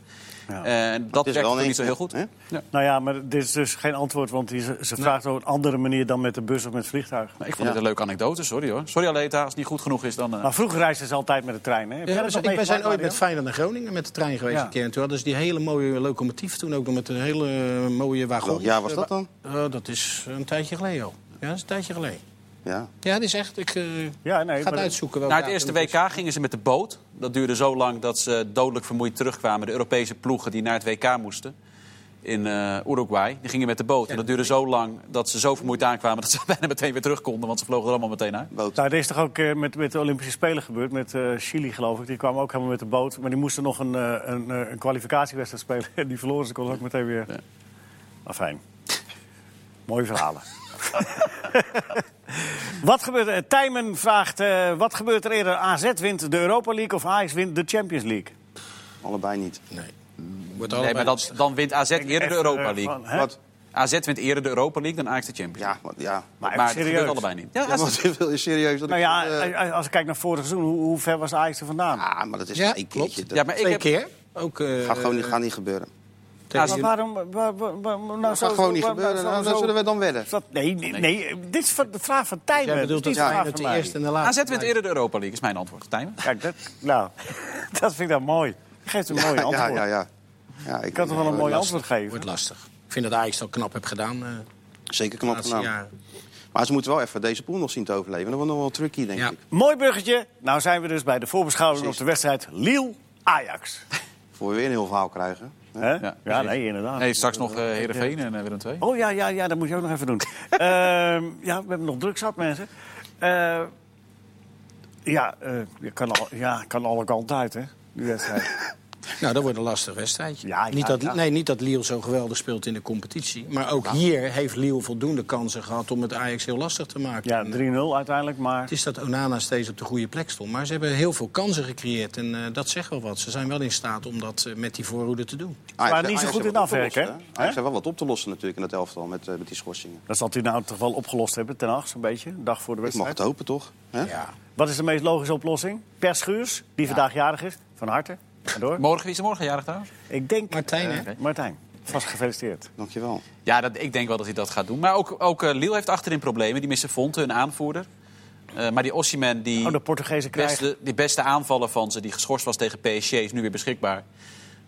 C: Eh, en dat
B: het is
C: werkte
B: wel
C: toen
B: een-
C: niet zo heel goed.
B: hè?
C: Ja.
A: Nou ja, maar dit is dus geen antwoord, want die, ze ze vraagt op een andere manier dan met de bus of met het vliegtuig.
C: Maar ik vond het een leuke anekdote, sorry hoor. Sorry Aleta, als het niet goed genoeg is dan... eh,
A: Maar vroeger reisden ze altijd met de trein, hè? Heb jij
D: Ja,
A: dat
D: we
A: nog
D: zijn- ik- wij zijn ooit
A: meegemaakt,
D: met Feyenoord naar Groningen met de trein geweest
A: Ja.
D: een keer. En toen hadden ze die hele mooie locomotief. Toen ook nog met een hele eh, mooie wagon.
B: Welk jaar was dat dan?
D: Eh, dat is een tijdje geleden al. Ja, dat is een tijdje geleden.
B: Ja.
D: Ja, dat is echt... Ik eh,
A: Ja, nee,
D: ga
A: maar-
D: het uitzoeken. welk
C: Na het
D: jaar
C: eerste
D: dat is.
C: WK gingen ze met de boot. Dat duurde zo lang dat ze dodelijk vermoeid terugkwamen. De Europese ploegen die naar het WK moesten in eh, Uruguay, die gingen met de boot. En dat duurde zo lang dat ze zo vermoeid aankwamen... dat ze bijna meteen weer terug konden, want ze vlogen er allemaal meteen uit.
B: Boot.
A: Nou, er is toch ook eh, met, met de Olympische Spelen gebeurd, met eh, Chili geloof ik. Die kwamen ook helemaal met de boot, maar die moesten nog een, eh, een, eh, een kwalificatiewedstrijd spelen. En die verloren ze, konden ook meteen weer... Nou, fijn. Mooie verhalen. wat gebeurt er? Tijmen vraagt, eh, wat gebeurt er eerder? AZ wint de Europa League of Ajax wint de Champions League?
B: Allebei niet.
D: Nee. Wordt
C: Nee,
D: allebei-
C: maar dat, dan wint AZ eerder
A: Echt,
C: de
A: eh,
C: Europa League.
A: van, hè?
B: Wat?
C: AZ wint eerder de Europa League dan Ajax de Champions League.
B: Ja, wat, ja.
A: Maar even
C: maar het
A: serieus.
C: gebeurt allebei niet. Ja, Dus,
B: Ja,
C: AZ
B: want wil je serieus dat
A: Nou
B: ik...
A: ja,
B: eh,
A: als- als ik kijk naar vorig seizoen, hoe, hoe ver was Ajax er vandaan?
B: ah, maar dat is
D: Ja,
B: maar één keertje.
D: klopt.
B: Dat
C: Ja, maar ik
D: Twee
C: heb-
D: keer. Ook, eh,
B: gaat gewoon niet, gaat niet gebeuren.
D: tegen-
A: Maar waarom? Waar, waar- waar- nou,
B: Dat
A: zo-
B: gaat gewoon
A: zo-
B: niet
A: waar- waar-
B: gebeuren.
A: zo-
B: Nou, dan
A: zo-
B: zullen we dan wedden.
A: Is dat- nee, nee, nee, dit is van- de vraag van Tijmen.
D: Jij bedoelt
A: Dit
D: dat
A: is de vraag
D: Feyenoord
A: van
D: de
A: mij.
D: eerste en de
C: AZ
D: laatste.
C: wint eerder de Europa League, is mijn antwoord. Tijmen?
A: Kijk, dat, nou, dat vind ik dan mooi. Je geeft een mooi antwoord.
B: Ja, ja, ja. ja ik eh, nou,
A: Ik kan toch wel een mooi antwoord geven?
D: Wordt lastig. Ik vind dat Ajax dat knap heb gedaan eh,
B: Zeker
D: de
B: knap
D: laatste
B: gedaan.
D: jaren.
B: Maar ze moeten wel even deze pool nog zien te overleven. Dat wordt nog wel tricky, denk
D: Ja.
B: ik.
A: Mooi bruggetje. Nou zijn we dus bij de voorbeschouwing op de wedstrijd Lille-Ajax.
B: Voor we weer een heel verhaal krijgen.
A: Hè? Ja,
C: Ja,
A: nee, inderdaad.
C: Nee, straks nog eh Heerenveen en eh, Willem II.
A: Oh ja, ja, ja, dat moet je ook nog even doen. Ehm, ja, we hebben nog druk zat, mensen. Eh, ja, eh, je kan al, ja, kan alle kanten uit, hè? Die wedstrijd.
D: Nou, dat wordt een lastig wedstrijdje.
A: Ja, ja,
D: niet, dat,
A: ja.
D: Nee, niet dat Liel zo geweldig speelt in de competitie. Maar ook hier heeft Liel voldoende kansen gehad om het Ajax heel lastig te maken.
A: Ja,
D: En, eh,
A: 3-0 uiteindelijk, maar...
D: Het is dat Onana steeds op de goede plek stond. Maar ze hebben heel veel kansen gecreëerd. En eh, dat zegt wel wat. Ze zijn wel in staat om dat eh, met die voorhoede te doen.
B: Ajax-
A: waren niet zo
B: Ajax
A: goed
B: heeft
A: in
B: wat op te
A: afwerken,
B: lossen,
A: hè?
B: Ajax heeft wel wat op te lossen natuurlijk in het elftal met, eh, met die schorsingen.
A: Dat zal hij nou toch wel opgelost hebben, ten acht, zo'n beetje. Een dag voor de
B: Ik mag
A: wedstrijd.
B: het hopen, toch? Hè?
D: Ja.
A: Wat is de meest logische oplossing? Per Schuurs, die vandaag jarig is, van harte. Ga door.
C: Morgen, wie is er morgen jarig trouwens?
A: Ik denk...
D: Martijn, hè?
A: eh, Martijn, vast gefeliciteerd.
B: Dankjewel.
C: Ja, dat, ik denk wel dat hij dat gaat doen. Maar ook, ook eh, Lille heeft achterin problemen. Die missen Fonte, hun aanvoerder. Eh, maar die Ossiman, die,
A: Oh, de Portugezen krijgen...
C: beste, die beste aanvaller van ze, die geschorst was tegen PSG, is nu weer beschikbaar.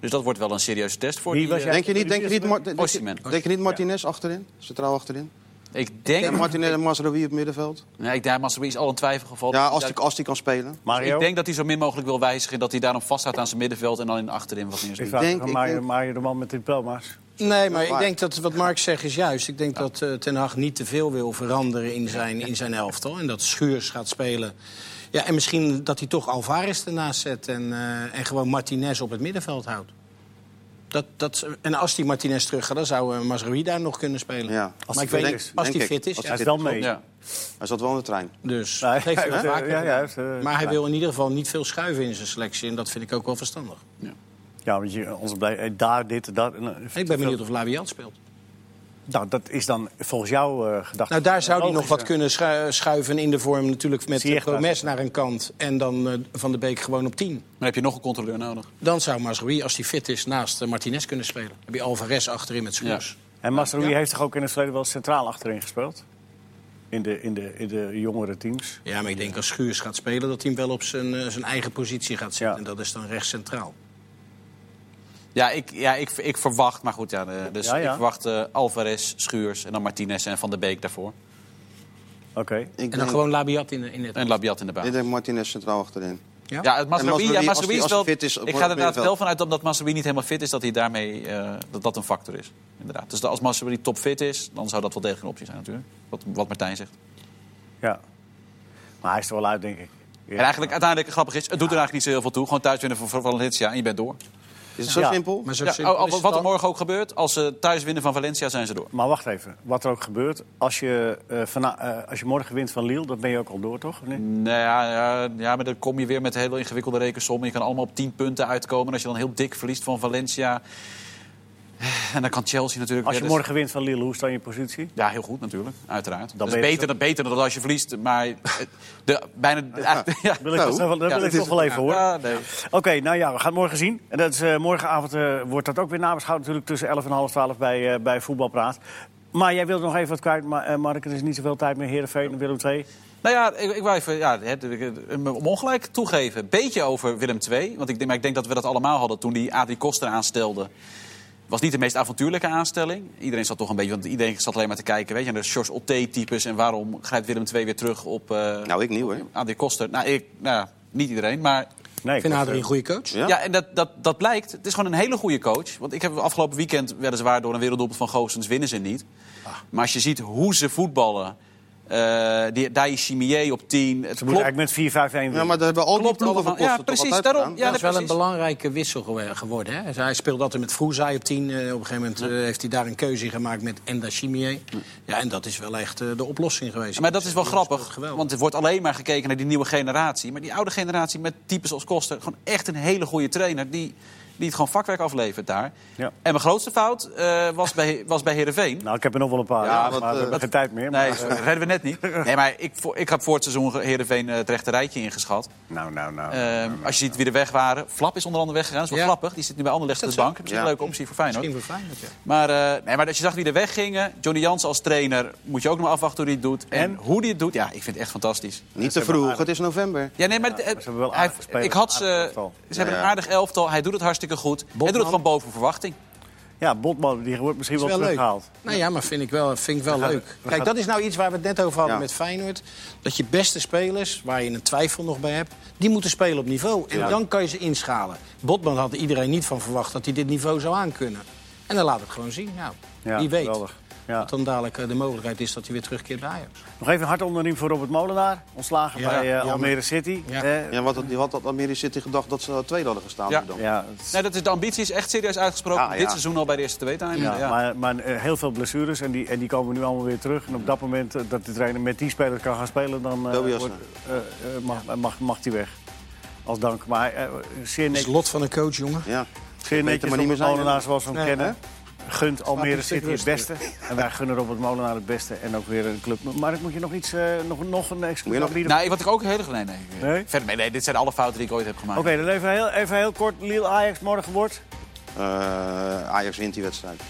C: Dus dat wordt wel een serieuze test voor
A: Wie
C: die,
A: was
C: eh,
A: jij?
B: Denk je niet, denk je niet, Mar- denk je-
C: Osimhen.
B: denk je niet Martinez achterin? Centraal achterin?
C: Ik denk...
B: En Martinez en Masraoui op het middenveld?
C: Nee, ik denk, Masraoui is al in twijfel gevallen.
B: Ja, als die, als die kan spelen.
A: Mario?
C: Ik denk dat hij zo min mogelijk wil wijzigen. Dat hij daarom vasthoudt aan zijn middenveld en dan in achterin wat
A: Ik
C: neerzet.
A: vraag
B: denk-
A: aan
B: ik
A: Mario,
B: denk-
A: Mario de man met de diploma's.
D: Nee, maar
B: is
D: ik
B: waar.
D: denk dat wat Mark zegt is juist. Ik denk dat eh, Ten Hag niet te veel wil veranderen in zijn, in zijn elftal. En dat Schuurs gaat spelen. Ja, en misschien dat hij toch Alvarez ernaast zet en, eh, en gewoon Martinez op het middenveld houdt. Dat, dat, en als die Martinez terug gaat, dan zou uh, Masrui daar nog kunnen spelen.
B: Ja.
A: Als
D: maar
A: hij
D: ik weet
A: fit
D: niet,
B: is.
D: als
B: Denk
D: hij
B: ik.
D: fit is.
B: Als
D: ja.
A: Hij is wel mee.
C: Ja.
B: Hij zat wel in de trein.
D: Dus
A: Nee,
D: dat heeft hij wel
A: hij heeft,
D: vaker
A: eh, ja,
D: gedaan.
A: hij heeft, eh,
D: Maar hij
A: gedaan.
D: wil in ieder geval niet veel schuiven in zijn selectie. En dat vind ik ook wel verstandig.
A: Ja, want je, ons blij, eh, daar, dit, daar... nou,
D: Ik ben benieuwd of Labiat speelt.
A: Nou, dat is dan volgens jou eh gedacht.
D: Nou, daar zou hij nog
A: Logischer.
D: wat kunnen schu- schuiven in de vorm natuurlijk met
A: Ziyech
D: eh, Promes naar een kant en dan eh, Van de Beek gewoon op 10.
C: Dan heb je nog een controleur nodig.
D: Dan zou Mazraoui, als hij fit is, naast eh, Martinez kunnen spelen. Dan heb je Alvarez achterin met Schuurs.
A: En Mastroui
D: Ja.
A: heeft toch ook in het verleden wel centraal achterin gespeeld? In de, in de, in de jongere teams.
D: Ja. maar ik denk als Schuurs gaat spelen dat hij hem wel op zijn, eh, zijn eigen positie gaat zetten.
A: Ja.
D: En dat is dan rechts centraal.
C: Ja, ik, ja ik, ik verwacht, maar goed, ja, eh, dus
A: Ja, ja.
C: ik verwacht eh, Alvarez, Schuurs en dan Martinez en Van der Beek daarvoor.
A: Oké.
B: Ik
D: En dan
B: denk-
D: gewoon Labiat in, in het...
C: En Labiat in de baan.
B: Ik denk Martinez centraal achterin.
D: Ja?
C: Ja, het
B: En Mazraoui,
C: Masraoui, ja,
B: als
C: Masraoui
B: die-
C: is
B: als
C: wel...
B: die fit is,
C: ik
B: wordt
C: ga er
B: het
C: inderdaad wel
B: middenveld.
C: vanuit dat Masraoui niet helemaal fit is... dat hij daarmee eh, dat, dat een factor is. Inderdaad. Dus als Masraoui topfit is, dan zou dat wel degelijk een optie zijn natuurlijk. Wat, wat Martijn zegt.
A: Ja. Maar hij is er wel uit, denk ik.
C: En eigenlijk uiteindelijk, grappig is, het doet er eigenlijk niet zo heel veel toe. Gewoon thuis winnen van van Valencia en je bent door.
B: Is het zo
A: Ja.
B: simpel?
D: Maar zo
C: Ja,
D: simpel
C: al- al-
D: is het
C: wat er
D: dan.
C: morgen ook gebeurt, als ze thuis winnen van Valencia zijn ze door.
A: Maar wacht even. Wat er ook gebeurt. Als je, eh, vana- eh, als je morgen wint van Lille, dan ben je ook al door, toch? Of niet?
C: Nou ja, ja, ja, maar dan kom je weer met hele ingewikkelde rekensommen. Je kan allemaal op 10 punten uitkomen. En als je dan heel dik verliest van Valencia. eh, En dan kan Chelsea natuurlijk.
A: Als je
C: weer- dus-
A: morgen wint van Lille, hoe sta je in positie?
C: Ja, heel goed natuurlijk, uiteraard. Dat
A: ben
C: is
A: je
C: beter, dan, beter dan als je verliest. Maar eh, de, bijna. Ja. Ja.
A: Wil ik
B: Nou,
A: dat nog wel- dat
C: ja,
A: wil ik
C: dat
A: nog wel even horen.
C: Ja, nee.
A: Oké, nou ja, we gaan het morgen zien. En dat is, eh, morgenavond eh, wordt dat ook weer nabeschouwd natuurlijk tussen 11 en half 12 bij, eh, bij Voetbalpraat. Maar jij wilde nog even wat kwijt, maar, eh, Mark. Er is niet zoveel tijd meer. Heerenveen en Willem II.
C: Nou ja, ik, ik wou even ja, hè, de- de- hem om ongelijk toegeven. Een beetje over Willem II. Want ik, denk- maar ik denk dat we dat allemaal hadden toen die Adrie Koster aanstelde. Was niet de meest avontuurlijke aanstelling. Iedereen zat toch een beetje, want iedereen zat alleen maar te kijken. Weet je, naar de George Otte-types. En waarom grijpt Willem II weer terug op eh
B: Nou, ik niet hoor.
C: Adrie Koster? Nou, ik, nou, ja, niet iedereen, maar
A: Nee,
D: Ik vind
A: dat,
D: Adrie
A: eh,
D: een goede coach.
B: Ja.
C: ja, en dat, dat, dat blijkt. Het is gewoon een hele goede coach. Want ik heb afgelopen weekend weliswaar door een werelddoelpunt van Goossens winnen ze niet.
B: Ah.
C: Maar als je ziet hoe ze voetballen. eh die Dai Chimier op 10. Het
A: Ze
C: klopt.
A: moeten eigenlijk met 4-5-1 winnen.
B: Ja, maar daar hebben al die
C: Klopt
B: ploegen van Koster
C: allemaal. Ja,
B: toch
C: precies,
B: altijd
C: daarom.
B: gedaan?
C: Ja,
D: dat is wel
C: precies.
D: een belangrijke wissel gewe- geworden. Hè. Hij speelde altijd met Vroezai op 10. eh, op een gegeven moment eh, heeft hij daar een keuze in gemaakt met Enda Chimier. Ja, en dat is wel echt eh, de oplossing geweest.
C: Maar dat is wel
D: Die speelt
C: grappig,
D: geweldig.
C: want er wordt alleen maar gekeken naar die nieuwe generatie. Maar die oude generatie met types als Koster, gewoon echt een hele goede trainer... die, die het gewoon vakwerk aflevert daar.
A: Ja.
C: En mijn grootste fout eh, was, bij, was bij Heerenveen.
A: Nou, ik heb er nog wel een paar,
B: Ja,
A: ja,
B: want,
A: maar we
B: eh,
A: hebben geen tijd meer.
C: Nee,
A: maar-
C: sorry, redden we net niet. Nee, maar ik, vo- ik had voor het seizoen Heerenveen eh, het rechte rijtje ingeschat.
A: Nou, nou, nou.
C: Ehm, als je ziet wie er weg waren. Flap is onder andere weggegaan. Dat is wel
D: Ja.
C: grappig. Die zit nu bij Anderlecht op de
D: dat zo?
C: bank. Misschien
B: Ja.
C: een leuke optie voor Feyenoord.
D: Misschien voor Feyenoord, ja.
C: Maar, eh, nee, maar als je zag wie er weggingen. Johnny Jans als trainer. Moet je ook nog afwachten hoe hij het doet. En,
A: En?
C: hoe hij het doet. Ja, ik vind het echt fantastisch.
B: Niet te vroeg, het is november.
C: Ja, nee, maar, het-
A: maar ze hebben wel
C: hij-
A: aardige spelers,
C: ik had ze.
A: aardig elftal.
C: Ze hebben
B: Ja,
C: een
B: ja.
C: aardig elftal. Hij doet het hartstikke goed. Hij doet het gewoon boven verwachting.
A: Ja, Botman, die wordt misschien wel,
D: Is wel leuk.
A: teruggehaald.
D: Nou ja, maar vind ik wel, vind ik wel
A: gaan-
D: leuk.
A: we
D: Kijk,
A: gaan-
D: dat is nou iets waar we het net over hadden
B: Ja.
D: met Feyenoord. Dat je beste spelers, waar je een twijfel nog bij hebt... die moeten spelen op niveau. En
B: Ja.
D: dan kan je ze inschalen. Botman had iedereen niet van verwacht dat hij dit niveau zou aankunnen. En dan laat het gewoon zien. Nou,
A: Ja,
D: wie weet
A: geweldig. Ja.
D: dat dan dadelijk eh, de mogelijkheid is dat hij weer terugkeert bij Ajax.
A: Nog even een hard onderriem voor Robert Molenaar. Ontslagen
D: Ja,
A: bij eh,
D: jammer.
A: Almere City.
D: Ja.
A: Eh,
B: Ja, wat had, die had dat Almere City gedacht dat ze tweede hadden gestaan?
C: Ja.
B: Dan?
A: ja, het is-
C: Nee, dat is, de ambitie is echt serieus uitgesproken.
B: Ja, ja.
C: Dit seizoen al bij de eerste twee time.
A: Ah, Ja,
C: Ja,
A: Maar, maar eh, heel veel blessures en die, en die komen nu allemaal weer terug. En op dat moment eh, dat de trainer met die speler kan gaan spelen, dan eh,
B: Tobias,
A: wordt, eh, eh, mag, mag, mag die weg. Als dank. Maar eh, zeer
D: Dat is
A: nek-
D: het lot van een coach, jongen.
B: Ja.
A: zeer
B: Beter
A: netjes
B: maar niet
A: om
B: meer zijn,
A: Molenaar zoals we hem
D: Nee,
A: kennen. gunt Almere
D: Laat die
A: City het
D: stuk
A: beste. En wij gunnen Robert Molenaar het beste. En ook weer een club. Maar ik moet je nog iets, eh, nog, nog een excuus
B: je nog-
A: aanbieden?
C: Nou, wat ik ook heel erg... Nee, nee.
A: Nee?
C: Verder, nee, nee, dit zijn alle fouten die ik ooit heb gemaakt.
A: Oké, dan even heel, even heel kort. Lille Ajax morgen wordt
B: Eh, Ajax wint die wedstrijd.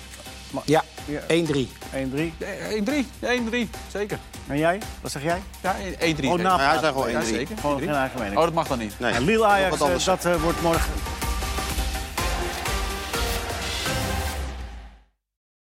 D: Ja,
A: Ja.
D: 1-3.
A: 1-3.
C: 1-3, 1-3, zeker.
A: En jij? Wat zeg jij?
C: Ja, 1-3. zeker.
A: na-
B: Maar hij zei gewoon
C: Ja,
B: 1-3.
C: zeker.
A: nou, Gewoon geen
C: 1-3.
A: eigen mening.
C: Oh, dat mag dan niet.
B: Nee.
A: Lille
B: Wat
A: Ajax, eh,
B: anders
A: dat eh, wordt morgen